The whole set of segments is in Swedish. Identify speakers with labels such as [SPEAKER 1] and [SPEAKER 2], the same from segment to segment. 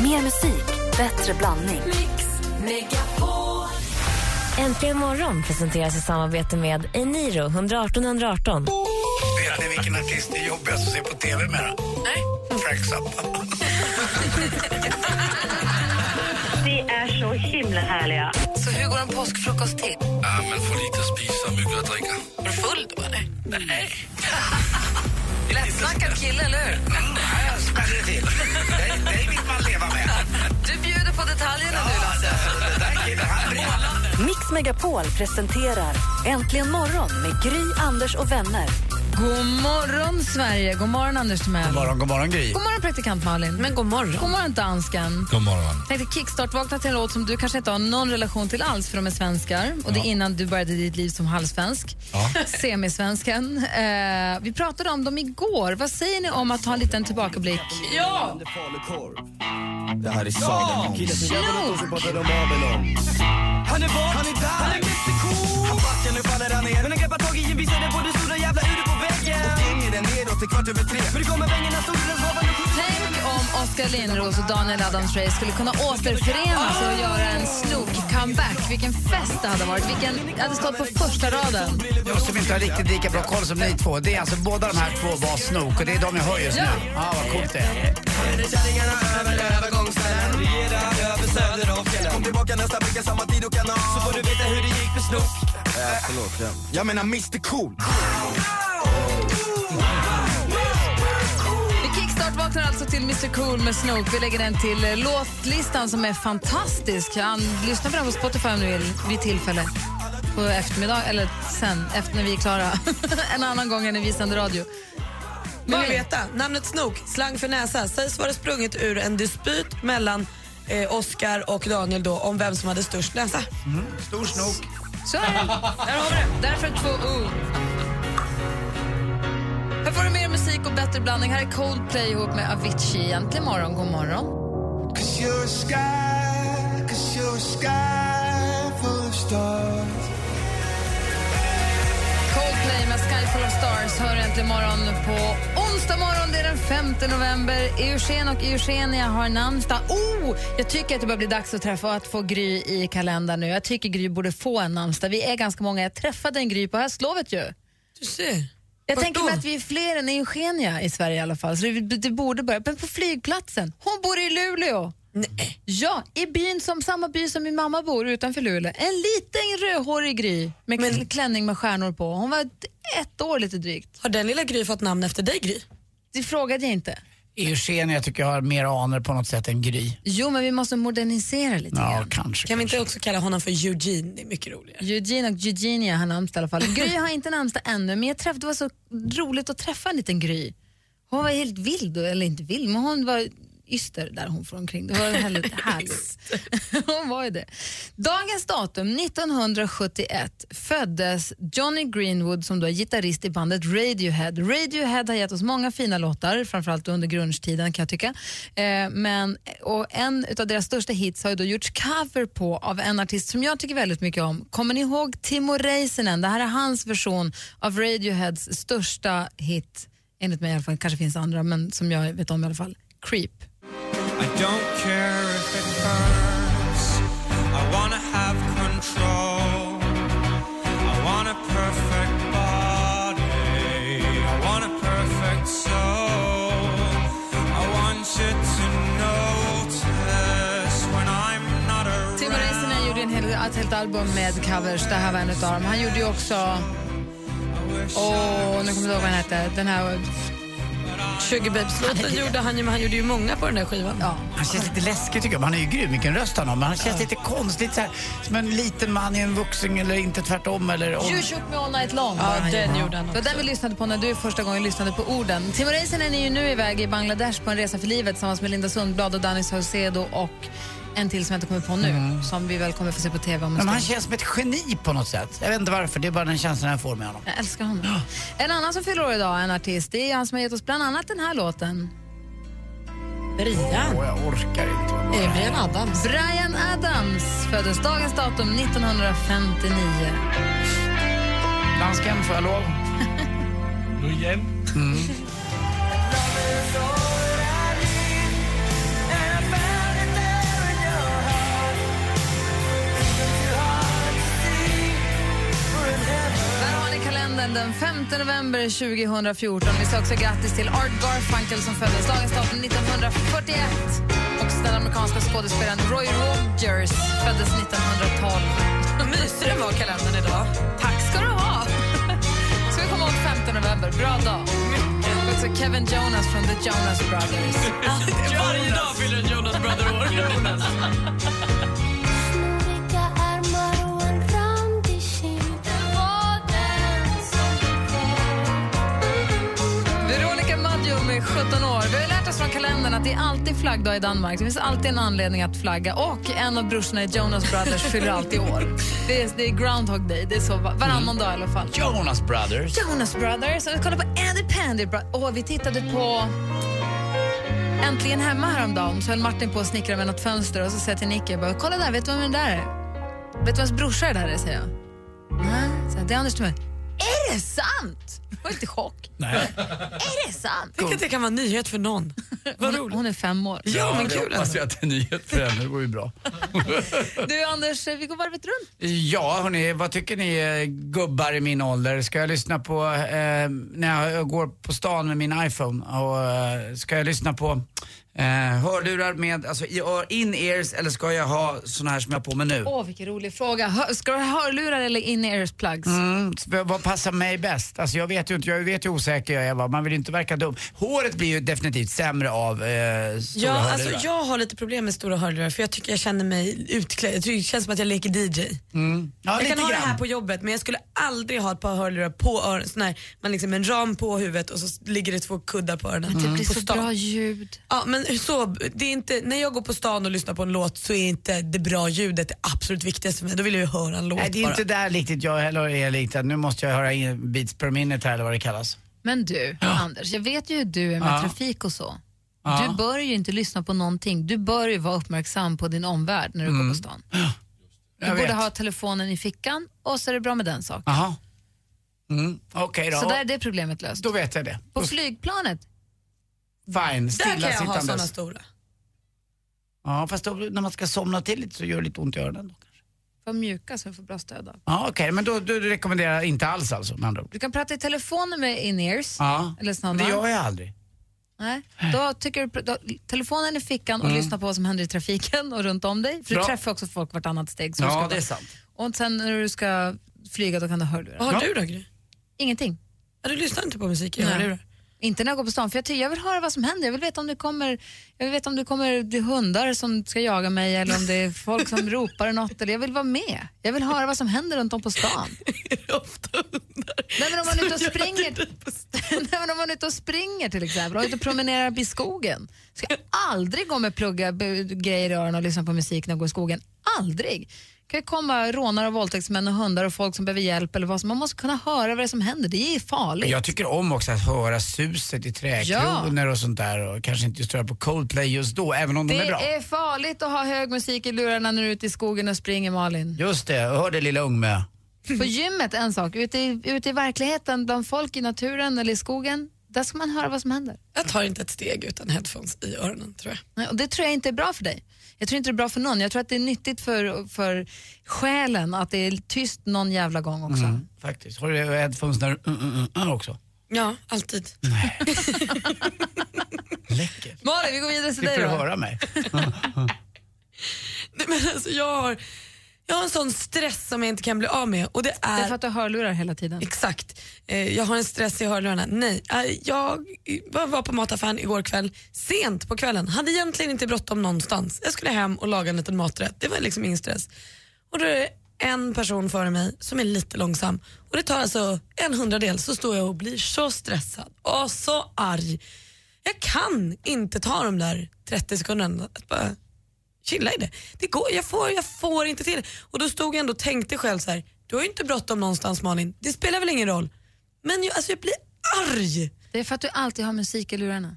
[SPEAKER 1] Mer musik, bättre blandning.
[SPEAKER 2] Mix Megapol.
[SPEAKER 3] Äntligen morgon presenteras i samarbete med Eniro 118 118.
[SPEAKER 4] Vet ni vilken artist det är jobbigast att se på TV med? Nej. Frank Zappa.
[SPEAKER 5] Ni är så himla härliga.
[SPEAKER 2] Så hur går en påskfrukost till?
[SPEAKER 4] Ja, men får lite att spisa, mycket att dricka.
[SPEAKER 2] Var du full då eller? Nej. Lättsnackad kille, eller hur?
[SPEAKER 4] Här smäller Mm, det till. Dig, dig vill man leva med.
[SPEAKER 2] Du bjuder på detaljerna nu Lasse.
[SPEAKER 4] Den där killen, han brinner.
[SPEAKER 1] Mix Megapol presenterar Äntligen morgon med Gry, Anders och vänner.
[SPEAKER 6] God morgon, Sverige. God morgon, Anders Timell. God
[SPEAKER 7] morgon, god morgon Gry.
[SPEAKER 6] God morgon, praktikant Malin. Men god morgon. God morgon, dansken.
[SPEAKER 7] God morgon.
[SPEAKER 6] Tänkte kickstart-vakna till en låt som du kanske inte har någon relation till alls för de är svenskar. Och det är innan du började ditt liv som halvsvensk. Semisvensken. Eh, vi pratade om dem igår. Vad säger ni om att ha en liten tillbakablick?
[SPEAKER 2] Ja!
[SPEAKER 8] Det här är sagan om... Han är bort, han är där, han är Mexiko Han backar, nu faller han ner Men han greppar tag i en vis och det både stora jävla ur på väggen Och gängen är neråt till kvart över tre För det kommer vängerna, solen, svaveln och
[SPEAKER 6] Tänk om Oskar Linnros och Daniel Adams-Ray skulle kunna återförenas och göra en snok-comeback. Vilken fest det hade varit. Vilken, jag hade stått på första raden.
[SPEAKER 7] Jag som inte har riktigt lika bra koll som ni två, det är alltså båda de här två var snok och det är de jag hör just nu. Ja, ah, vad coolt det är.
[SPEAKER 8] Kärringarna över övergångsställen Regerar över söder och fjällen Kom tillbaka nästa vecka samma tid och kanal Så får du veta hur det gick för Snook Ja, förlåt, ja. Jag menar Mr Cool
[SPEAKER 6] Vi kickstart-vaknar alltså till Mr Cool med Snook. Vi lägger den till eh, låtlistan som är fantastisk. Han lyssnar på den på Spotify om du vill vid tillfälle. På eftermiddag, eller sen, efter när vi är klara. en annan gång än när vi sänder radio.
[SPEAKER 9] Vill ni
[SPEAKER 6] Malin?
[SPEAKER 9] veta? Namnet Snook, slang för näsa, sägs vara sprunget ur en dispyt mellan eh, Oscar och Daniel då om vem som hade störst näsa.
[SPEAKER 7] Stor snok.
[SPEAKER 6] Så är det. Där har vi det. Därför två O. Här får du mer musik och bättre blandning. Här är Coldplay ihop med Avicii. Äntligen morgon, god morgon. Coldplay med Sky Full of Stars hör äntligen morgon på onsdag morgon. Det är den 5 november. Eugen och Eugenia har namnsdag. Oh, jag tycker att det börjar bli dags att träffa och att få Gry i kalendern nu. Jag tycker Gry borde få en namnsdag. Vi är ganska många. Jag träffade en Gry på höstlovet ju.
[SPEAKER 9] Du ser.
[SPEAKER 6] Jag
[SPEAKER 9] Vart
[SPEAKER 6] tänker
[SPEAKER 9] då?
[SPEAKER 6] mig att vi är fler än Eugenia i Sverige i alla fall. Så det, det borde börja. Men på flygplatsen. Hon bor i Luleå.
[SPEAKER 9] Nej.
[SPEAKER 6] Ja, i byn som samma by som min mamma bor utanför Luleå. En liten rödhårig Gry med
[SPEAKER 9] Men-
[SPEAKER 6] kl- klänning med stjärnor på. Hon var ett- ett år lite drygt.
[SPEAKER 9] Har den lilla Gry fått namn efter dig Gry?
[SPEAKER 6] Det frågade jag inte.
[SPEAKER 7] Eugenia tycker jag har mer aner på något sätt än Gry.
[SPEAKER 6] Jo, men vi måste modernisera lite
[SPEAKER 7] Ja,
[SPEAKER 6] grann.
[SPEAKER 7] kanske.
[SPEAKER 9] Kan vi
[SPEAKER 7] kanske.
[SPEAKER 9] inte också kalla honom för Eugene? Det är mycket roligare.
[SPEAKER 6] Eugene och Eugenia har namnsdag i alla fall. Gry har inte namnsdag ännu, men jag träff, det var så roligt att träffa en liten Gry. Hon var helt vild, då, eller inte vild, men hon var yster där hon får omkring. Det var väldigt härligt. hon var ju det. Dagens datum, 1971, föddes Johnny Greenwood som då är gitarrist i bandet Radiohead. Radiohead har gett oss många fina låtar, framförallt under grunge-tiden kan jag tycka. Eh, men, och en av deras största hits har ju då gjorts cover på av en artist som jag tycker väldigt mycket om. Kommer ni ihåg Timo Räisänen? Det här är hans version av Radioheads största hit, enligt mig i alla fall. kanske finns andra, men som jag vet om i alla fall. Creep.
[SPEAKER 8] I don't care if it hurts I wanna have control I want a perfect body I want a perfect soul I want you to notice when I'm not around
[SPEAKER 6] Timo Räisänen gjorde en hel, ett helt album med covers. Det här var en utav dem. Han gjorde ju också... Åh, nu kommer jag inte ihåg vad han hette. Den här...
[SPEAKER 9] Sugar Babes-låten gjorde han ju, men han gjorde ju många på den där skivan.
[SPEAKER 6] Ja.
[SPEAKER 7] Han känns lite läskig tycker jag. Han är ju grym, vilken röst han har. Men han känns lite konstigt så här, som en liten man i en vuxen eller inte tvärtom. Eller, om-
[SPEAKER 6] You shook me all night long. var
[SPEAKER 9] Ja,
[SPEAKER 6] han
[SPEAKER 9] den
[SPEAKER 6] gjorde.
[SPEAKER 9] gjorde han
[SPEAKER 6] Det var
[SPEAKER 9] också.
[SPEAKER 6] den vi lyssnade på när du första gången lyssnade på orden. Timo Räisänen är ju nu iväg i Bangladesh på en resa för livet tillsammans med Linda Sundblad och Danny Saucedo och en till som jag inte kommer på nu, som vi väl kommer få se på tv om en
[SPEAKER 7] men han
[SPEAKER 6] stund.
[SPEAKER 7] känns som ett geni på något sätt. Jag vet inte varför, det är bara den känslan jag får med honom.
[SPEAKER 6] Jag älskar honom. En annan som fyller år idag, en artist, det är han som har gett oss bland annat den här låten.
[SPEAKER 9] Brian.
[SPEAKER 7] Och jag orkar inte.
[SPEAKER 9] Är det Brian Adams?
[SPEAKER 6] Brian Adams föddes dagens datum 1959.
[SPEAKER 7] Dansken, får jag lov?
[SPEAKER 8] And I found
[SPEAKER 6] november 2014. Vi sa också grattis till Art Garfunkel som föddes dagens datum 1941. Och den amerikanska skådespelaren Roy Rogers föddes 1912. Vad mysig den var, kalendern idag. Tack ska du ha! Ska vi komma ihåg 15 november. Bra dag. Och också Kevin Jonas från The Jonas Brothers.
[SPEAKER 9] Varje dag fyller en Jonas Brother år.
[SPEAKER 6] Veronica Maggio med 17 år. Vi har lärt oss från kalendern att det är alltid flaggdag i Danmark. Det finns alltid en anledning att flagga. Och en av brorsorna i Jonas Brothers fyller alltid år. Det är, det är Groundhog Day. Det är så va- varannan dag i alla fall.
[SPEAKER 7] Jonas Brothers.
[SPEAKER 6] Jonas Brothers. Och vi kollade på Andy Pandy. Bro- Åh, vi tittade på Äntligen hemma häromdagen. Så höll Martin på att snickra med något fönster och så säger jag till Nicky, jag bara, kolla där, vet du vem det där är? Vet du vems brorsa det där är, säger jag. Nej, säger jag, det är Anders Timell. Är det sant? Jag var lite i chock.
[SPEAKER 7] Nej.
[SPEAKER 6] Är det sant?
[SPEAKER 9] Tänk att det kan vara en nyhet för någon. Vad
[SPEAKER 6] Hon,
[SPEAKER 9] roligt.
[SPEAKER 6] hon är fem år.
[SPEAKER 9] Ja, men kul.
[SPEAKER 7] Hoppas jag att det är nyhet för henne, det vore ju bra.
[SPEAKER 6] Du Anders, vi går varvet runt.
[SPEAKER 7] Ja, hörni, vad tycker ni eh, gubbar i min ålder? Ska jag lyssna på, eh, när jag går på stan med min iPhone, och, eh, ska jag lyssna på eh, hörlurar med, alltså i ör- in-ears eller ska jag ha såna här som jag har på mig nu?
[SPEAKER 6] Åh, vilken rolig fråga. Hör, ska du ha hörlurar eller in-ears plugs?
[SPEAKER 7] Mm, så vad- vad passar mig bäst? Alltså jag vet ju inte, jag vet ju hur osäker jag är va? man vill ju inte verka dum. Håret blir ju definitivt sämre av eh, stora
[SPEAKER 9] Ja,
[SPEAKER 7] hörlurar.
[SPEAKER 9] alltså, jag har lite problem med stora hörlurar för jag tycker jag känner mig utklädd. Jag tycker det känns som att jag leker DJ.
[SPEAKER 7] ja,
[SPEAKER 9] jag
[SPEAKER 7] lite
[SPEAKER 9] kan ha det
[SPEAKER 7] grann.
[SPEAKER 9] här på jobbet men jag skulle aldrig ha ett par hörlurar på öronen, sån här, man liksom en ram på huvudet och så ligger det två kuddar på öronen.
[SPEAKER 6] Det blir
[SPEAKER 9] på
[SPEAKER 6] så
[SPEAKER 9] stan.
[SPEAKER 6] bra ljud.
[SPEAKER 9] Ja, men så, det är inte, när jag går på stan och lyssnar på en låt så är inte det bra ljudet det absolut viktigaste för mig. Då vill jag ju höra en låt
[SPEAKER 7] Nej, det är
[SPEAKER 9] bara.
[SPEAKER 7] inte där riktigt jag heller är riktigt. att Nu måste jag höra in beats per minute här eller vad det kallas.
[SPEAKER 6] Men du, Anders, jag vet ju hur du är med
[SPEAKER 7] Ja.
[SPEAKER 6] trafik och så.
[SPEAKER 7] Ja.
[SPEAKER 6] Du bör ju inte lyssna på någonting. Du bör ju vara uppmärksam på din omvärld när du går på stan. Du
[SPEAKER 7] Mm. Jag
[SPEAKER 6] borde
[SPEAKER 7] vet.
[SPEAKER 6] ha telefonen i fickan och så är det bra med den saken.
[SPEAKER 7] Jaha. Mm, Okej då.
[SPEAKER 6] Så där är det problemet löst.
[SPEAKER 7] Då vet jag det.
[SPEAKER 6] På flygplanet,
[SPEAKER 7] Fine,
[SPEAKER 9] Där kan jag ha såna
[SPEAKER 7] stillasittandes.
[SPEAKER 9] stora.
[SPEAKER 7] Ja, fast då, när man ska somna till lite så gör det lite ont i öronen. Då.
[SPEAKER 6] var mjuka så du får bra stöd av.
[SPEAKER 7] Ja, Okej, men då, då rekommenderar jag inte alls alltså med andra ord.
[SPEAKER 6] Du kan prata i telefonen med in-ears.
[SPEAKER 7] Ja,
[SPEAKER 6] Eller
[SPEAKER 7] men det
[SPEAKER 6] snabba.
[SPEAKER 7] gör jag aldrig.
[SPEAKER 6] Nej. Då tycker du, då, telefonen i fickan och lyssna på vad som händer i trafiken och runt om dig. För
[SPEAKER 7] Mm. Bra.
[SPEAKER 6] du träffar också folk vartannat steg. Så du
[SPEAKER 7] Ja,
[SPEAKER 6] ska
[SPEAKER 7] det är
[SPEAKER 6] vara-
[SPEAKER 7] sant.
[SPEAKER 6] Och sen när du ska flyga då kan du ha hörlurar.
[SPEAKER 9] Vad har
[SPEAKER 7] Ja.
[SPEAKER 9] du då Gry?
[SPEAKER 6] Ingenting.
[SPEAKER 9] Ja, du lyssnar inte på musik i
[SPEAKER 6] Nej.
[SPEAKER 9] hörlurar?
[SPEAKER 6] Inte när jag går på stan, för jag, ty- jag vill höra vad som händer. Jag vill veta om det kommer, jag vill veta om det kommer det är hundar som ska jaga mig eller om det är folk som ropar något. Eller jag vill vara med. Jag vill höra vad som händer runt om på stan.
[SPEAKER 9] Är det ofta hundar?
[SPEAKER 6] Nej, men om man är ute och
[SPEAKER 9] som gör att
[SPEAKER 6] springer-
[SPEAKER 9] du inte får-
[SPEAKER 6] Nej, men om man är ute och springer till exempel, och ute och promenerar i skogen. Ska jag aldrig gå med plugga b- grejer i öronen och lyssna på musik när jag går i skogen. Aldrig. Det kan ju komma rånare och våldtäktsmän och hundar och folk som behöver hjälp eller vad som Man måste kunna höra vad det är som händer. Det är farligt.
[SPEAKER 7] Jag tycker om också att höra suset i träkronor och sånt där och kanske inte just höra på Coldplay just då, även om de är
[SPEAKER 6] Det
[SPEAKER 7] bra.
[SPEAKER 6] är farligt att ha hög musik i lurarna när du är ute i skogen och springer Malin.
[SPEAKER 7] Just det, jag hörde Lilla Ungmö. Mm.
[SPEAKER 6] På gymmet en sak, ute i, ute i verkligheten bland folk i naturen eller i skogen, där ska man höra vad som händer.
[SPEAKER 9] Jag tar inte ett steg utan headphones i öronen tror jag.
[SPEAKER 6] Nej, Och det tror jag inte är bra för dig. Jag tror inte det är bra för någon. Jag tror att det är nyttigt för, för själen att det är tyst någon jävla gång också.
[SPEAKER 7] Mm. Faktiskt. Har du headphones när du mm, mm, mm, också?
[SPEAKER 9] Ja, Mm. alltid.
[SPEAKER 7] Läcker.
[SPEAKER 6] Malin, vi går vidare till dig
[SPEAKER 7] Slipper du
[SPEAKER 6] då.
[SPEAKER 7] höra mig.
[SPEAKER 9] Nej, men alltså, jag, har, jag har en sån stress som jag inte kan bli av med och det
[SPEAKER 6] Det är
[SPEAKER 9] är
[SPEAKER 6] för att du har hörlurar hela tiden.
[SPEAKER 9] Exakt. Eh, jag har en stress i hörlurarna. Nej, eh, jag var- var på mataffären igår kväll, sent på kvällen. Hade egentligen inte bråttom någonstans. Jag skulle hem och laga en liten maträtt. Det var liksom ingen stress. Och då är det en person före mig som är lite långsam. Och det tar alltså en hundradel så står jag och blir så stressad och så arg. Jag kan inte ta de där 30 sekunderna att bara chilla i det. det går, jag, får, jag får inte till det. Och då stod jag ändå och tänkte själv så här, du har ju inte bråttom någonstans Malin, det spelar väl ingen roll. Men jag, alltså, jag blir arg.
[SPEAKER 6] Det är för att du alltid har musik i lurarna.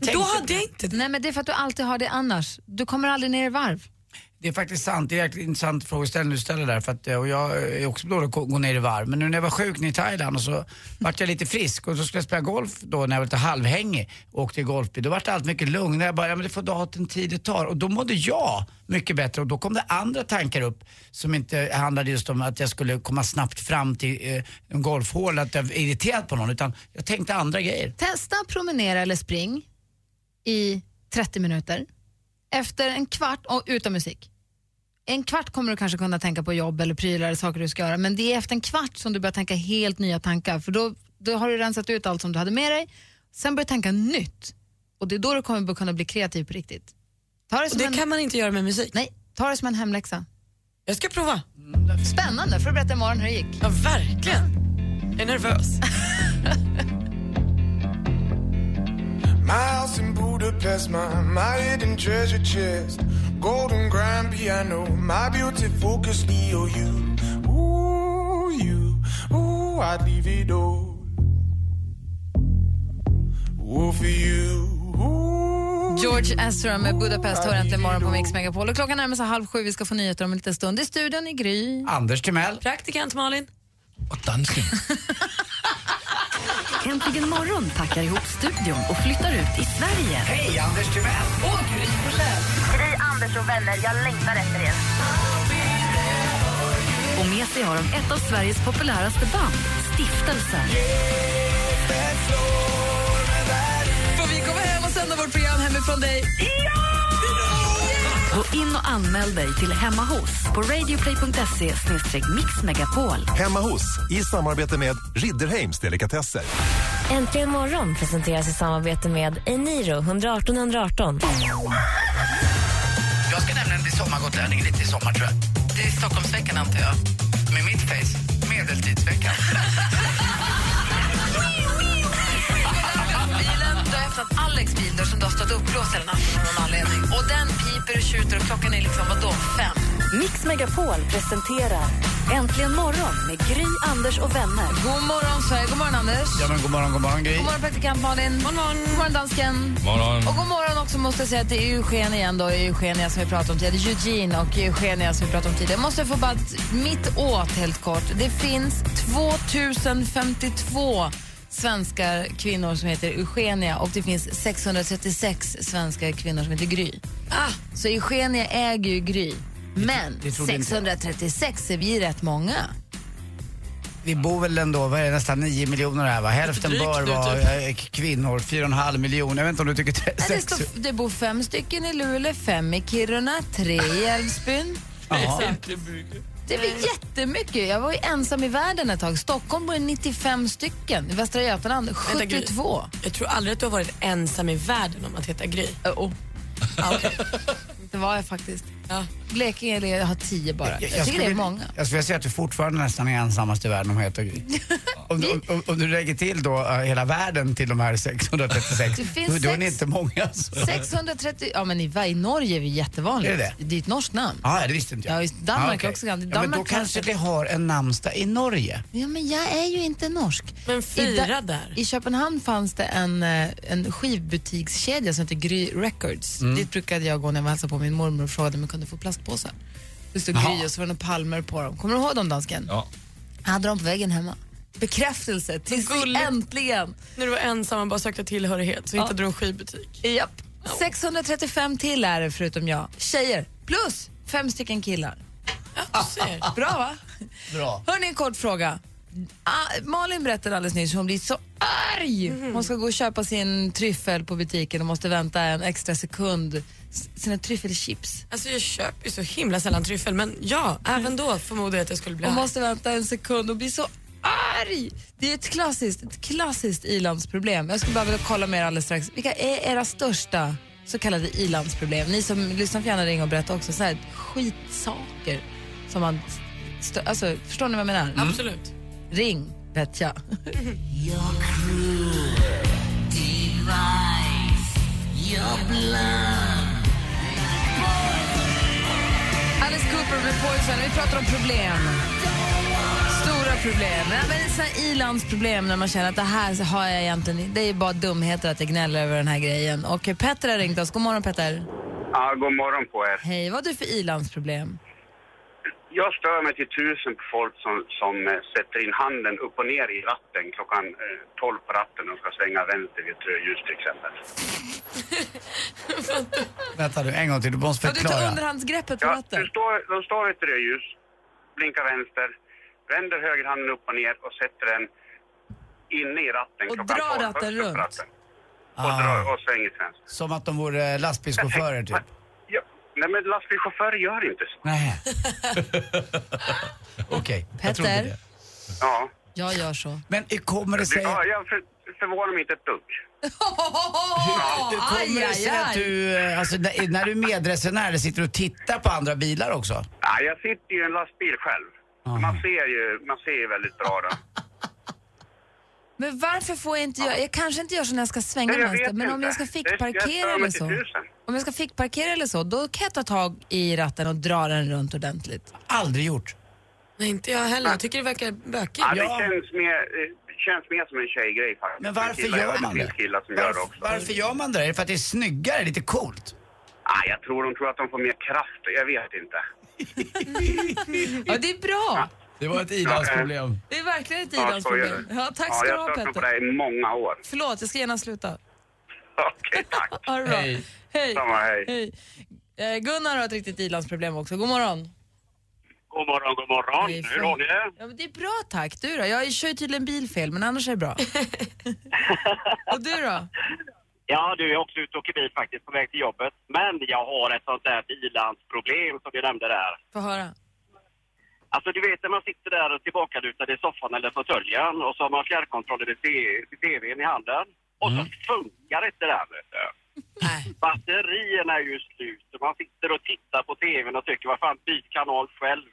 [SPEAKER 9] Då hade jag inte det.
[SPEAKER 6] Nej, men det är för att du alltid har det annars. Du kommer aldrig ner i varv.
[SPEAKER 7] Det Det är faktiskt sant, det är jäkligt intressant frågeställning du ställer där. För att, eh, och jag är också dålig på att gå ner i varv. Men nu när jag var sjuk nere i Thailand och så vart jag lite frisk och så skulle jag spela golf då när jag var lite halvhängig och åkte i golfbil. Då vart allt mycket lugnare. Jag bara, ja men det får ta den tid det tar. Och då mådde jag mycket bättre och då kom det andra tankar upp som inte handlade just om att jag skulle komma snabbt fram till eh, en golfhål, att jag var irriterad på någon. Utan jag tänkte andra grejer.
[SPEAKER 6] Testa promenera eller spring i 30 minuter. Efter en kvart, och utan musik. En kvart kommer du kanske kunna tänka på jobb eller prylar eller saker du ska göra, men det är efter en kvart som du börjar tänka helt nya tankar, för då, då har du rensat ut allt som du hade med dig. Sen börjar du tänka nytt och det är då du kommer kunna bli kreativ på riktigt. Ta det
[SPEAKER 9] Och
[SPEAKER 6] som,
[SPEAKER 9] det
[SPEAKER 6] en,
[SPEAKER 9] kan man inte göra med musik.
[SPEAKER 6] nej, ta det som en hemläxa.
[SPEAKER 9] Jag ska prova.
[SPEAKER 6] Spännande, för att berätta imorgon hur det gick.
[SPEAKER 9] Ja, verkligen. Jag är nervös.
[SPEAKER 8] My house in Budapest, my, my hidden treasure chest, golden grand piano, my beauty focus, EOU. Ooh, you, ooh, I'd leave it all. Ooh, for you, ooh.
[SPEAKER 6] George Ezra med Budapest hör äntligen imorgon på Mix Megapol. Och klockan närmar sig halv sju, vi ska få nyheter om en liten stund. I studion i Gry.
[SPEAKER 7] Anders Timell.
[SPEAKER 9] Praktikant Malin.
[SPEAKER 10] Och dansken.
[SPEAKER 1] Äntligen morgon packar ihop studion och flyttar ut i Sverige.
[SPEAKER 7] Hej Anders Timell!
[SPEAKER 5] Gry, Anders och vänner, jag längtar efter er.
[SPEAKER 1] Och med sig har de ett av Sveriges populäraste band, Stiftelsen.
[SPEAKER 2] Får vi komma hem och sända vårt program hemifrån dig?
[SPEAKER 1] Gå in och anmäl dig till Hemma hos på radioplay.se mixmegapol.
[SPEAKER 11] Hemma hos, i samarbete med Ridderheims Delikatesser.
[SPEAKER 3] Äntligen morgon presenteras i samarbete med Eniro 118 118.
[SPEAKER 4] Jag ska nämligen bli sommargotlänning lite i sommar tror jag.
[SPEAKER 2] Det är Stockholmsveckan antar jag.
[SPEAKER 4] Med mitt face, medeltidsveckan.
[SPEAKER 2] Bilen, du har öppnat Alex bil där som du har stått uppblåst hela natten av någon anledning. Och den piper och tjuter och klockan är liksom vadå, fem?
[SPEAKER 1] Mix Megapol presenterar Äntligen morgon med Gry, Anders och vänner.
[SPEAKER 6] God morgon Sverige, god morgon Anders.
[SPEAKER 7] Ja men god morgon, god morgon Gry.
[SPEAKER 6] God morgon praktikant Malin. God morgon. God morgon dansken.
[SPEAKER 10] Morgon.
[SPEAKER 6] Och god morgon också måste jag säga att det är Eugenia igen då, Eugenia som vi pratade om tidigare, Eugene och Eugenia som vi pratade om tidigare. Jag måste få bara ett- mitt åt helt kort. Det finns 2052 svenska kvinnor som heter Eugenia och det finns 636 svenska kvinnor som heter Gry.
[SPEAKER 9] Ah,
[SPEAKER 6] Så Eugenia äger ju Gry. Men
[SPEAKER 7] det trodde inte
[SPEAKER 6] 636 är vi rätt många.
[SPEAKER 7] Vi bor väl ändå, vad är det, nästan 9 miljoner här va? Hälften
[SPEAKER 9] Lite drygt
[SPEAKER 7] bör
[SPEAKER 9] nu,
[SPEAKER 7] vara
[SPEAKER 9] typ.
[SPEAKER 7] eh, k- kvinnor, 4,5 miljoner. Jag vet inte om du tycker det är
[SPEAKER 6] Nej, Det,
[SPEAKER 7] sex...
[SPEAKER 6] står, det bor fem stycken i Luleå, fem i Kiruna, tre i Älvsbyn.
[SPEAKER 7] Ja.
[SPEAKER 6] Det är väl jättemycket. Jag var ju ensam i världen ett tag. Stockholm bor det 95 stycken. I Västra Götaland
[SPEAKER 9] Vänta, Gry.
[SPEAKER 6] 72.
[SPEAKER 9] jag tror aldrig att du har varit ensam i världen om att heta Gry.
[SPEAKER 6] Oh. Det var jag faktiskt.
[SPEAKER 9] Ja.
[SPEAKER 6] Blekinge eller jag har tio bara. Jag, tycker det är
[SPEAKER 7] vilja-
[SPEAKER 6] många.
[SPEAKER 7] Jag skulle vilja säga att du fortfarande nästan är ensammast i världen om heter Gry. Om, du- om, om du lägger till då eh, hela världen till de här 636,
[SPEAKER 6] Det finns
[SPEAKER 7] då, då är ni
[SPEAKER 6] sex-
[SPEAKER 7] inte många alltså.
[SPEAKER 6] 630... Ja, men i, i Norge är vi jättevanliga.
[SPEAKER 7] Är det
[SPEAKER 6] det är ett norskt namn.
[SPEAKER 7] Ja, det visste inte jag.
[SPEAKER 6] Ja, just Danmark
[SPEAKER 7] okej.
[SPEAKER 6] är också gammalt.
[SPEAKER 7] Ja, men då
[SPEAKER 6] Danmark
[SPEAKER 7] kanske
[SPEAKER 6] kanske-
[SPEAKER 7] vi har en namnsdag i Norge.
[SPEAKER 6] Ja, men jag är ju inte norsk. I
[SPEAKER 9] Men
[SPEAKER 6] da-
[SPEAKER 9] fyra där.
[SPEAKER 6] I Köpenhamn fanns det en, eh, en skivbutikskedja som heter Gry Records. Dit brukade jag gå när jag var och hälsade på min mormor och frågade om jag kunde få plastpåsar. Det stod Gry och så var det några palmer på dem. Kommer du ihåg dem dansken?
[SPEAKER 10] Ja.
[SPEAKER 6] Jag hade dem på väggen hemma. Bekräftelse, tills vi
[SPEAKER 9] gulligt.
[SPEAKER 6] äntligen.
[SPEAKER 9] När du var ensam och bara sökte tillhörighet så hittade du en skivbutik.
[SPEAKER 6] Japp. 635 till är det förutom jag. Tjejer, plus fem stycken killar.
[SPEAKER 9] Ja, du ser.
[SPEAKER 6] Bra va?
[SPEAKER 7] Bra.
[SPEAKER 6] Hörni, en kort fråga. Ah, Malin berättade alldeles nyss hur hon blir så arg. Hon ska gå och köpa sin tryffel på butiken och måste vänta en extra sekund. S- Sina tryffelchips.
[SPEAKER 9] Alltså jag köper ju så himla sällan tryffel men ja, även då förmodade jag att jag skulle bli
[SPEAKER 6] Hon
[SPEAKER 9] arg.
[SPEAKER 6] måste vänta en sekund och blir så arg. Det är ett klassiskt, ett klassiskt ilandsproblem. Jag skulle bara vilja kolla med er alldeles strax. Vilka är era största så kallade ilandsproblem? Ni som lyssnar får gärna ringa och berätta också. Så här skitsaker som man... Stö- alltså, förstår ni vad jag menar?
[SPEAKER 9] Absolut.
[SPEAKER 6] Ring, vet jag. Alice Cooper med Poison. Vi pratar om problem. Stora problem. Ja, men så här ilandsproblem när man känner att det här så har jag egentligen... Det är bara dumheter att jag gnäller över den här grejen. Och Petter har ringt oss. God morgon, Petter.
[SPEAKER 10] Ja, god morgon på er.
[SPEAKER 6] Hej, vad har du för ilandsproblem?
[SPEAKER 10] Jag stör mig till tusen på folk som, som eh, sätter in handen upp och ner i ratten klockan eh, 12 på ratten och ska svänga vänster vid ett rödljus till exempel.
[SPEAKER 7] Vänta nu, en gång till. Du måste förklara.
[SPEAKER 6] underhandsgreppet
[SPEAKER 10] på ratten? De står, de står vid ett rödljus, blinkar vänster, vänder högerhanden upp och ner och sätter den inne i ratten
[SPEAKER 6] Och
[SPEAKER 10] klockan
[SPEAKER 6] drar
[SPEAKER 10] 12,
[SPEAKER 6] ratten
[SPEAKER 10] högst upp på
[SPEAKER 6] runt.
[SPEAKER 10] Ratten, och,
[SPEAKER 7] Ah,
[SPEAKER 10] drar, och svänger till vänster.
[SPEAKER 7] som att de vore eh, lastbilschaufförer typ.
[SPEAKER 10] Ja, nej men lastbilschaufförer gör inte så.
[SPEAKER 7] Nej. Okej, jag trodde
[SPEAKER 6] Petter?
[SPEAKER 7] det.
[SPEAKER 10] Ja.
[SPEAKER 6] Jag gör så.
[SPEAKER 7] Men hur kommer det sig...
[SPEAKER 10] Ja, jag för, förvånar mig inte ett dugg.
[SPEAKER 7] Hur kommer det sig att du, eh, alltså, när när du är medresenär, sitter du och tittar på andra bilar också?
[SPEAKER 10] Ja, jag sitter ju i en lastbil själv.
[SPEAKER 7] Ah.
[SPEAKER 10] Man ser ju man ser ju väldigt bra då.
[SPEAKER 6] Men varför får jag inte göra, jag kanske inte gör så när jag ska svänga
[SPEAKER 10] Nej, jag
[SPEAKER 6] vänster,
[SPEAKER 10] vet
[SPEAKER 6] men om
[SPEAKER 10] inte.
[SPEAKER 6] jag ska
[SPEAKER 10] Det- jag stör
[SPEAKER 6] fickparkera
[SPEAKER 10] mig
[SPEAKER 6] eller
[SPEAKER 10] till
[SPEAKER 6] så.
[SPEAKER 10] tusen.
[SPEAKER 6] Om jag ska fickparkera eller så, då kan jag ta tag i ratten och dra den runt ordentligt.
[SPEAKER 7] Aldrig gjort.
[SPEAKER 9] Nej, inte jag heller. Jag tycker det verkar bökigt.
[SPEAKER 10] Ja, det känns mer, eh, känns mer som en tjejgrej faktiskt.
[SPEAKER 7] Men varför
[SPEAKER 10] Killar-
[SPEAKER 7] gör
[SPEAKER 10] jag
[SPEAKER 7] man
[SPEAKER 10] vet
[SPEAKER 7] det?
[SPEAKER 10] killar som gör det
[SPEAKER 7] Varför,
[SPEAKER 10] också.
[SPEAKER 7] varför gör man det? Är det för att det är snyggare, lite coolt?
[SPEAKER 10] Ah, jag tror de tror att de får mer kraft. Jag vet inte.
[SPEAKER 6] Ja, det är bra.
[SPEAKER 7] Det var ett
[SPEAKER 10] ilandsproblem.
[SPEAKER 6] Det är verkligen ett
[SPEAKER 10] Ja, så är det.
[SPEAKER 6] ilandsproblem. Ja, tack ska
[SPEAKER 10] ja,
[SPEAKER 6] du
[SPEAKER 10] Jag
[SPEAKER 6] ha
[SPEAKER 10] har stört mig på
[SPEAKER 6] Petter.
[SPEAKER 10] det här i många år.
[SPEAKER 6] Förlåt, jag ska gärna sluta.
[SPEAKER 10] Okej, tack.
[SPEAKER 6] Ha det bra. Hej. Hej.
[SPEAKER 10] Samma, hej.
[SPEAKER 6] Eh, Gunnar har ett riktigt ilandsproblem också. God morgon.
[SPEAKER 12] God morgon, god morgon.
[SPEAKER 6] Hej,
[SPEAKER 12] Hur har ni det?
[SPEAKER 6] Ja, men det är bra tack. Du då? Jag kör ju tydligen bil fel, men annars är det bra. Och du då?
[SPEAKER 12] Ja, du, jag är också ute och åker bil faktiskt på väg till jobbet. Men jag har ett sånt där bilansproblem som du nämnde där.
[SPEAKER 6] Få höra.
[SPEAKER 12] Alltså du vet när man sitter där och tillbakalutad i soffan eller fåtöljen och så har man fjärrkontrollen i te- i tvn i handen. Och så funkar inte det där vet du. Batterierna är ju slut och man sitter och tittar på tvn och tycker vad fan byt kanal själv.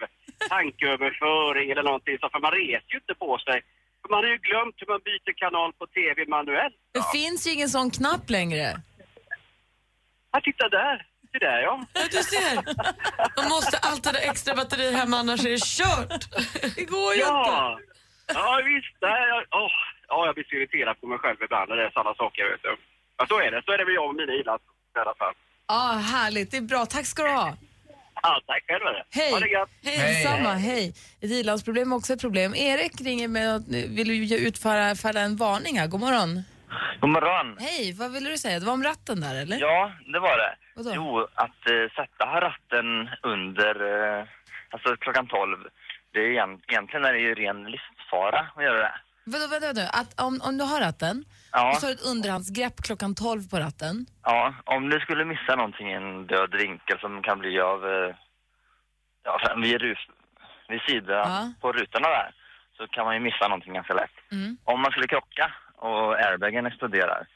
[SPEAKER 12] Tankeöverföring eller någonting så för man reser ju inte på sig. För man har ju glömt hur man byter kanal på tv manuellt.
[SPEAKER 6] Det finns ju ingen sån knapp längre.
[SPEAKER 12] Ja, titta där! Det där ja.
[SPEAKER 9] Ja, du ser. Man måste alltid ha extra batteri hemma annars är det kört. Det går ju
[SPEAKER 12] Ja! Ja visst, nej, jag, åh. ja, jag blir så irriterad på mig själv ibland när det är sådana saker vet du. Men så är det, så är det med jag och mina ilands i alla fall.
[SPEAKER 6] Ja, härligt. Det är bra. Tack ska du ha.
[SPEAKER 12] Ja, tack själv det.
[SPEAKER 6] Hej!
[SPEAKER 12] Ha det gött.
[SPEAKER 6] Hej, detsamma. Hej. Ett ilandsproblem är också ett problem. Erik ringer med att nu vill ju utfärda färda en varning här. God morgon.
[SPEAKER 13] God morgon.
[SPEAKER 6] Hej, vad ville du säga? Det var om ratten där eller?
[SPEAKER 13] Ja, det var det.
[SPEAKER 6] Vadå?
[SPEAKER 13] Jo, att eh, sätta ratten under, eh, alltså klockan 12, det är egent, egentligen är det ju ren livsfara att göra det.
[SPEAKER 6] Vadå, vänta, vänta. Att om, om du har ratten
[SPEAKER 13] Ja.
[SPEAKER 6] och så har du ett underhandsgrepp klockan 12 på ratten.
[SPEAKER 13] Ja, om du skulle missa någonting, en död vinkel som kan bli av, eh, ja, vid, rus, vid sidan på rutorna där, så kan man ju missa någonting ganska lätt.
[SPEAKER 6] Mm.
[SPEAKER 13] Om man skulle krocka och airbagen exploderar,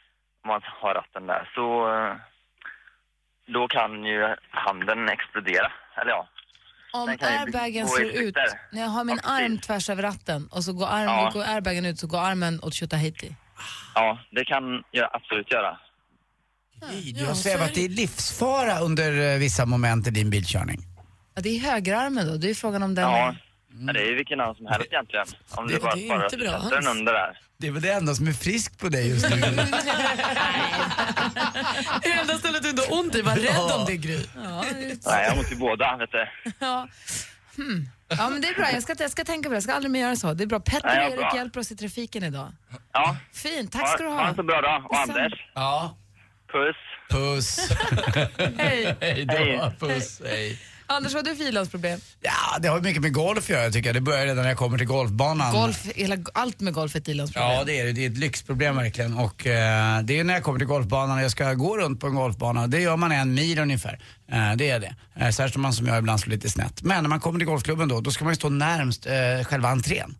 [SPEAKER 13] om man har ratten där, så eh, då kan ju handen explodera, eller ja.
[SPEAKER 6] Om
[SPEAKER 13] Den kan ju bli-
[SPEAKER 6] airbagen
[SPEAKER 13] gå
[SPEAKER 6] slår
[SPEAKER 13] i tryck
[SPEAKER 6] ut,
[SPEAKER 13] där.
[SPEAKER 6] när jag har min arm tvärs över ratten och så går, arm,
[SPEAKER 13] Ja.
[SPEAKER 6] går airbagen ut så går armen åt Tjotahejti.
[SPEAKER 13] Ja, det kan jag absolut göra.
[SPEAKER 7] Jag säger att det är livsfara under eh, vissa moment i din bilkörning.
[SPEAKER 6] Ja, det är högerarmen då, det är frågan om den...
[SPEAKER 13] Ja, men det är ju vilken arm som helst egentligen. Om du
[SPEAKER 7] det-
[SPEAKER 13] bara,
[SPEAKER 7] det är
[SPEAKER 13] bara
[SPEAKER 7] inte bra
[SPEAKER 13] sätter den
[SPEAKER 7] alls.
[SPEAKER 13] under där.
[SPEAKER 7] Det är väl det enda som är friskt på dig just nu.
[SPEAKER 9] Det enda stället du inte har ont i, var rädd om det Gry.
[SPEAKER 6] Ja, det är-
[SPEAKER 13] Nej, jag har ont i båda, vet du.
[SPEAKER 6] Ja. Hmm. ja, men det är bra. Jag ska, jag ska tänka på det. Jag ska aldrig mer göra så. Det är bra. Petter
[SPEAKER 13] Ja,
[SPEAKER 6] och
[SPEAKER 13] ja,
[SPEAKER 6] Erik
[SPEAKER 13] bra.
[SPEAKER 6] hjälper oss i trafiken idag.
[SPEAKER 13] Ja.
[SPEAKER 6] Fint, tack ska du
[SPEAKER 13] Ha
[SPEAKER 6] ha.
[SPEAKER 13] en så bra dag. Och
[SPEAKER 6] Detsamma.
[SPEAKER 13] Anders,
[SPEAKER 7] Ja.
[SPEAKER 13] puss.
[SPEAKER 7] Puss.
[SPEAKER 6] Hej.
[SPEAKER 7] Hej då. Puss. Hej.
[SPEAKER 6] Anders, vad har du för ilandsproblem?
[SPEAKER 7] Ja, det har ju mycket med golf att göra tycker jag. Det börjar redan när jag kommer till golfbanan.
[SPEAKER 6] Golf, hela, allt med golf är ett ilandsproblem.
[SPEAKER 7] Ja, det är det. Det är ett lyxproblem verkligen. Och eh, det är när jag kommer till golfbanan och jag ska gå runt på en golfbana. Det gör man en mil ungefär. Eh, det är det. Eh, särskilt om man som jag ibland slår lite snett. Men när man kommer till golfklubben då, då ska man ju stå närmst eh, själva entrén.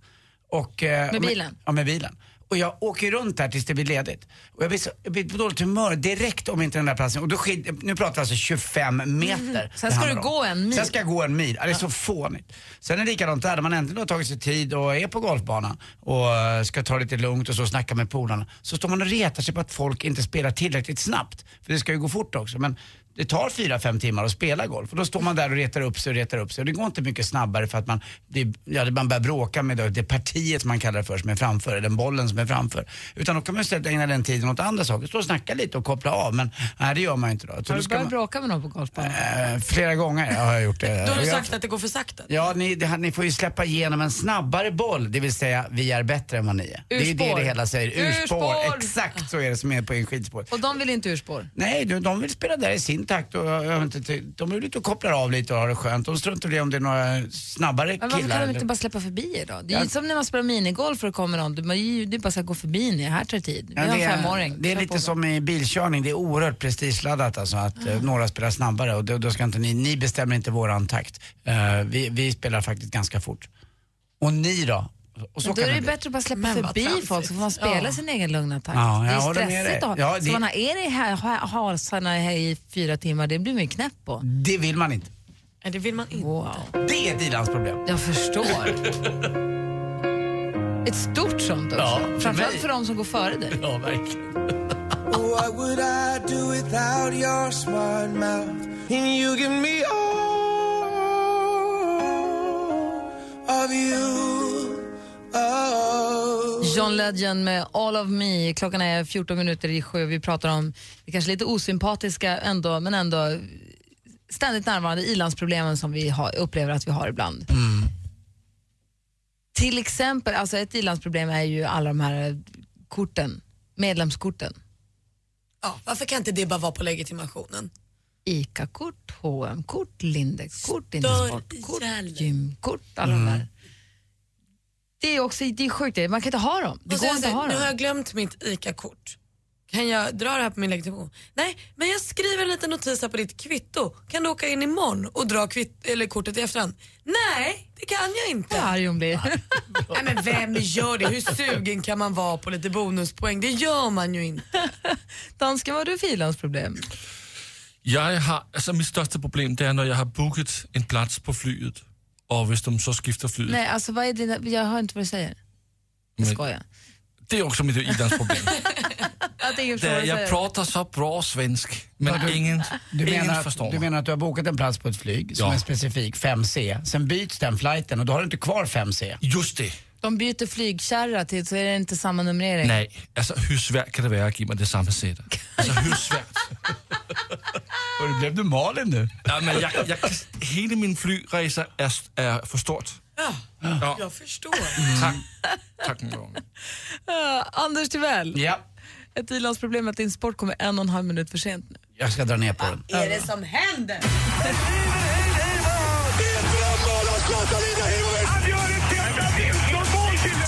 [SPEAKER 7] Och, eh,
[SPEAKER 6] Med
[SPEAKER 7] och
[SPEAKER 6] bilen?
[SPEAKER 7] Ja, med bilen. Och jag åker runt där tills det blir ledigt. Och jag blir, så, jag blir på dåligt humör direkt om inte den där platsen. Och då skid, nu pratar vi alltså 25 meter. det
[SPEAKER 6] Mm. Sen ska
[SPEAKER 7] handlar
[SPEAKER 6] du
[SPEAKER 7] om.
[SPEAKER 6] gå en mil.
[SPEAKER 7] Sen ska jag gå en mil. Ja, det är så fånigt. Sen är det likadant där, när man äntligen har tagit sig tid och är på golfbanan och eh, ska ta lite lugnt och så snacka med polarna. Så står man och retar sig på att folk inte spelar tillräckligt snabbt. För det ska ju gå fort också. Men det tar fyra fem timmar att spela golf och då står man där och retar upp sig och retar upp sig. Och det går inte mycket snabbare för att man, det, ja, det- man börjar bråka med det, det partiet som man kallar det för som är framför, eller den bollen som som är framför. Utan då kan man istället ägna den tiden åt andra saker. Stå och snacka lite och koppla av. Men nej, det gör man ju inte då. Så
[SPEAKER 6] Har
[SPEAKER 7] då
[SPEAKER 6] du
[SPEAKER 7] ska
[SPEAKER 6] börjat
[SPEAKER 7] man-
[SPEAKER 6] bråka med någon på golfbanan?
[SPEAKER 7] Eh, flera gånger har jag gjort det.
[SPEAKER 9] Då har du
[SPEAKER 7] Jag-
[SPEAKER 9] sagt att det går för sakta.
[SPEAKER 7] Ja, ni, det, här- ni får ju släppa igenom en snabbare boll, det vill säga vi är bättre än vad ni är. Det är ju
[SPEAKER 6] Urspår.
[SPEAKER 7] det det hela säger. Urspår.
[SPEAKER 6] Urspår.
[SPEAKER 7] Exakt så är det som är på en skidspår.
[SPEAKER 6] Och de vill inte urspår?
[SPEAKER 7] Nej, de, de vill spela där i sin takt och jag, jag, har inte ty- de vill ute och kopplar av lite och har det skönt. De struntar i om det är några snabbare
[SPEAKER 6] Men varför
[SPEAKER 7] killar.
[SPEAKER 6] kan de
[SPEAKER 7] eller-
[SPEAKER 6] inte bara släppa förbi er då? Det är
[SPEAKER 7] Ja.
[SPEAKER 6] ju som när man spelar minigolf och det kommer någon. Det är ju det är bara att gå förbi ni, här tar det tid. Vi
[SPEAKER 7] Ja,
[SPEAKER 6] har
[SPEAKER 7] det,
[SPEAKER 6] en
[SPEAKER 7] är,
[SPEAKER 6] femåring.
[SPEAKER 7] det är
[SPEAKER 6] Kör
[SPEAKER 7] lite
[SPEAKER 6] på.
[SPEAKER 7] som i bilkörning, det är oerhört prestigeladdat alltså att eh,
[SPEAKER 6] Mm.
[SPEAKER 7] några spelar snabbare och då, då ska inte ni, ni bestämmer inte våran takt. Eh, vi, vi spelar faktiskt ganska fort. Och ni då? Och så
[SPEAKER 6] Men då
[SPEAKER 7] kan
[SPEAKER 6] är det
[SPEAKER 7] det
[SPEAKER 6] ju
[SPEAKER 7] bli.
[SPEAKER 6] bättre att bara släppa
[SPEAKER 9] Men vad
[SPEAKER 6] förbi
[SPEAKER 9] tramsigt.
[SPEAKER 6] folk så får man spela
[SPEAKER 9] Ja.
[SPEAKER 6] sin egen lugna takt.
[SPEAKER 7] Ja,
[SPEAKER 6] det
[SPEAKER 7] jag
[SPEAKER 6] är
[SPEAKER 7] håller med
[SPEAKER 6] stressigt
[SPEAKER 7] dig.
[SPEAKER 6] att ha.
[SPEAKER 7] Ja,
[SPEAKER 6] Så
[SPEAKER 7] det-
[SPEAKER 6] man har er i ha- ha- hasarna här i fyra timmar, det blir man ju knäpp på.
[SPEAKER 7] Det vill man inte.
[SPEAKER 9] Nej, det vill man inte.
[SPEAKER 6] Wow.
[SPEAKER 7] Det är Dilans problem.
[SPEAKER 6] Jag förstår. Ett stort sånt också.
[SPEAKER 7] Ja, för
[SPEAKER 6] Framförallt
[SPEAKER 7] mig.
[SPEAKER 6] för de som går före dig.
[SPEAKER 7] Ja, verkligen.
[SPEAKER 8] What would I do without your smart mouth? And you give me all of you. Oh.
[SPEAKER 6] John Legend med All of Me. Klockan är 14 minuter i sju. Vi pratar om det kanske lite osympatiska ändå, men ändå ständigt närvarande ilandsproblemen som vi har, upplever att vi har ibland.
[SPEAKER 7] Mm.
[SPEAKER 6] Till exempel, alltså ett ilandsproblem är ju alla de här korten, medlemskorten.
[SPEAKER 9] Ja, varför kan inte det bara vara på legitimationen?
[SPEAKER 6] ICA-kort, H&M-kort, Lindex-kort, Intersportkort, gymkort, alla de där. Det är också det är sjukt, det. man kan inte ha dem. Det
[SPEAKER 9] Och
[SPEAKER 6] går
[SPEAKER 9] sen
[SPEAKER 6] inte att
[SPEAKER 9] säger,
[SPEAKER 6] ha
[SPEAKER 9] nu har
[SPEAKER 6] dem.
[SPEAKER 9] jag glömt mitt ICA-kort. Kan jag dra det här på min legitimation? Nej, men jag skriver en liten notis här på ditt kvitto. Kan du åka in imorgon och dra kvitt- eller kortet i efterhand? Nej, det kan jag inte.
[SPEAKER 6] Vad arg hon blir.
[SPEAKER 9] Nej, men vem gör det? Hur sugen kan man vara på lite bonuspoäng? Det gör man ju inte.
[SPEAKER 6] Dansken, vad har du för ilandsproblem?
[SPEAKER 14] Jeg har, altså mit største problem, det er, når jeg har booket en plads på flyet, og hvis de så skifter flyet.
[SPEAKER 6] Nej, alltså vad är dina, jag hör inte vad du säger.
[SPEAKER 14] Men-
[SPEAKER 6] skojar.
[SPEAKER 14] Det er også mit idrætsproblem.
[SPEAKER 6] Jag tänker
[SPEAKER 14] det er, jeg prater så bra svensk, men ingen,
[SPEAKER 7] Du
[SPEAKER 14] ingen
[SPEAKER 7] menar,
[SPEAKER 14] forstår
[SPEAKER 7] att, du
[SPEAKER 14] mig.
[SPEAKER 7] menar att du har bokat en plats på ett flyg som
[SPEAKER 14] Ja.
[SPEAKER 7] är specifik 5C, sen byts den flighten och då har du inte kvar 5C.
[SPEAKER 14] Just det.
[SPEAKER 6] De byter flygkärra till så är det inte samma numrering.
[SPEAKER 14] Nej, altså hvor svært kan det være at give mig det samme sæt? Altså hvor svært?
[SPEAKER 7] Och blev du Malin nu?
[SPEAKER 14] Ja, men jeg, jeg, kan- hele min flyrejser er, er for stort.
[SPEAKER 9] Ja,
[SPEAKER 14] Ja.
[SPEAKER 9] jag förstår.
[SPEAKER 14] Tak. Tak, min lov.
[SPEAKER 6] Eh, Anders Tivell,
[SPEAKER 7] Ja,
[SPEAKER 6] ett ilandsproblem är att din sport kommer en och en halv minut för sent nu.
[SPEAKER 7] jag ska dra ner på den.
[SPEAKER 9] Vad är det som händer?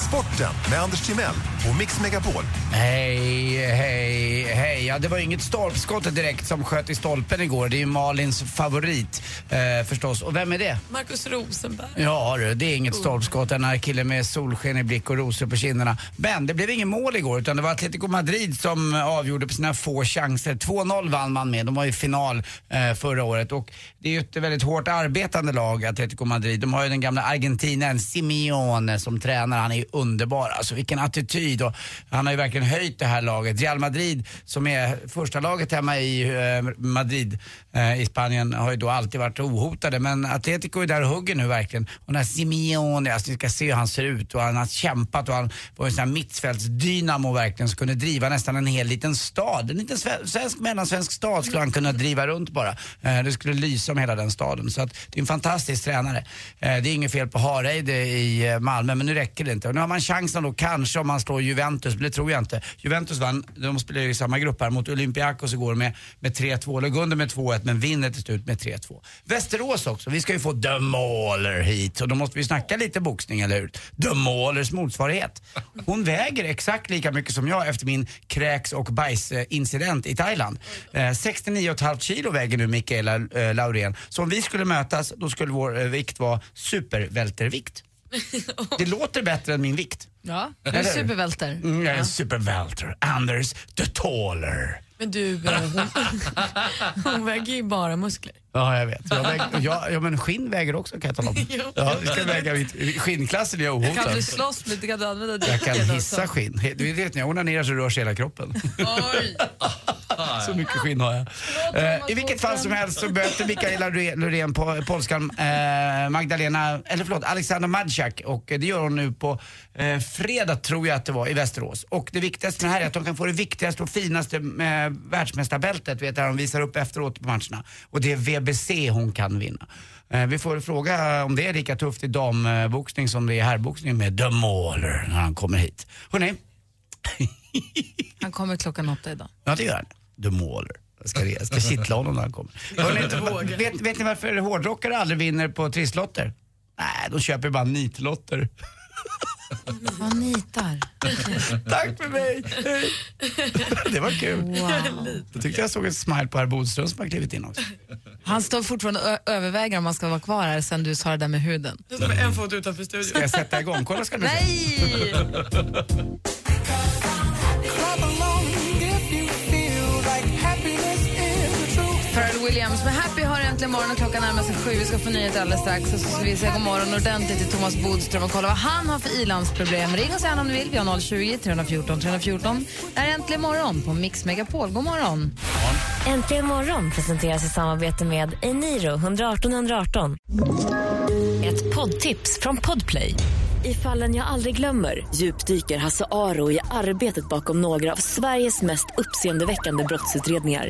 [SPEAKER 11] Sporten med Anders Timell och Mix Megapol.
[SPEAKER 7] Hej, hej, hej. Ja, det var ju inget stolpskott direkt som sköt i stolpen igår. Det är ju Malins favorit eh, förstås. Och vem är det?
[SPEAKER 9] Markus Rosenberg.
[SPEAKER 7] Ja du, det är inget stolpskott. Den här killen med solsken i blick och rosor på kinderna. Men det blev ingen mål igår utan det var Atletico Madrid som eh, avgjorde på sina få chanser. 2-0 vann man med. De var i final eh, förra året och det är ju ett väldigt hårt arbetande lag, Atletico Madrid. De har ju den gamla argentinaren Simeone som tränare. Han är ju underbar. Alltså vilken attityd och han har ju verkligen höjt det här laget. Real Madrid som är första laget hemma i eh, Madrid eh, i Spanien har ju då alltid varit ohotade men Atletico är där och hugger nu verkligen. Och när Simeone, alltså ni ska se hur han ser ut och han har kämpat och han var en sån här mittfältsdynamo verkligen som kunde driva nästan en hel liten stad. En liten sve- svensk, mellansvensk stad skulle han kunna driva runt bara. Eh, det skulle lysa om hela den staden så att det är en fantastisk tränare. Eh, det är inget fel på Hareide i eh, Malmö men nu räcker det inte. Och nu har man chansen då kanske om man slår Juventus, men det tror jag inte. Juventus vann, de spelar ju i samma grupp här, mot Olympiakos igår med, med 3-2. Låg under med 2-1 men vinner till slut med 3-2. Västerås också, vi ska ju få The Mauler hit och då måste vi snacka lite boxning, eller hur? The Maulers motsvarighet. Hon väger exakt lika mycket som jag efter min kräks och bajsincident i Thailand. Eh, 69,5 kilo väger nu Mikaela eh, Laurén. Så om vi skulle mötas då skulle vår eh, vikt vara supervältervikt. Det låter bättre än min vikt.
[SPEAKER 6] Ja, du är supervälter.
[SPEAKER 7] Mm, jag är en supervälter. Anders the Taller.
[SPEAKER 9] Men du, eh, hon, hon väger ju bara muskler.
[SPEAKER 7] Ja, jag vet. Jag väger, jag, ja, men skinn väger också kan jag tala om. Ja, det ska väga mitt, skinnklassen är jag ohotad.
[SPEAKER 2] Kan du slåss lite? Kan du använda
[SPEAKER 7] Jag kan
[SPEAKER 2] däcken
[SPEAKER 7] hissa
[SPEAKER 2] också?
[SPEAKER 7] skinn. He- Du vet, när jag onanerar så rörs hela kroppen. så mycket skinn har jag. Eh, I vilket fall som helst så böter Mikaela Lore- Loreen på polskan eh, Magdalena, eller förlåt, Alexandra Madjak och eh, det gör hon nu på eh, fredag tror jag att det var i Västerås. Och det viktigaste med det här är att de kan få det viktigaste och finaste eh, världsmästarbältet, vet du, de visar upp efteråt på matcherna. Och det är VBC hon kan vinna. Eh, Vi får fråga om det är lika tufft i damboxning som det är i herrboxning med The Mauler när han kommer hit. Hörrni,
[SPEAKER 6] Han kommer klockan åtta idag.
[SPEAKER 7] ja det gör han. The Mauler. Jag ska, jag ska kittla honom när han kommer. Hörrni, vet, vet ni varför hårdrockare aldrig vinner på trisslotter? Nej, de köper bara nitlotter.
[SPEAKER 6] Vad nitar.
[SPEAKER 7] Tack för mig. Det var kul.
[SPEAKER 6] Wow.
[SPEAKER 7] Jag tyckte jag såg en smile på herr Bodström som har klivit in också.
[SPEAKER 6] Han står fortfarande och ö- övervägar om han ska vara kvar här sen du sa det där med huden.
[SPEAKER 7] Som en
[SPEAKER 9] fot utanför studion.
[SPEAKER 7] Ska jag sätta igång? Kolla ska ni se.
[SPEAKER 6] Nej! Pharrell Williams med Happy har äntligen morgon och klockan närmar sig sju. Vi ska få nyheter alldeles strax och så ska vi säga god morgon ordentligt till Thomas Bodström och kolla vad han har för ilandsproblem. Ring oss gärna om du vill. Vi har 020-314 314. Det här är äntligen morgon på Mix Megapol. God morgon!
[SPEAKER 3] Äntligen morgon presenteras i samarbete med Eniro 118 118.
[SPEAKER 15] Ett poddtips från Podplay. I fallen jag aldrig glömmer djupdyker Hasse Aro i arbetet bakom några av Sveriges mest uppseendeväckande brottsutredningar.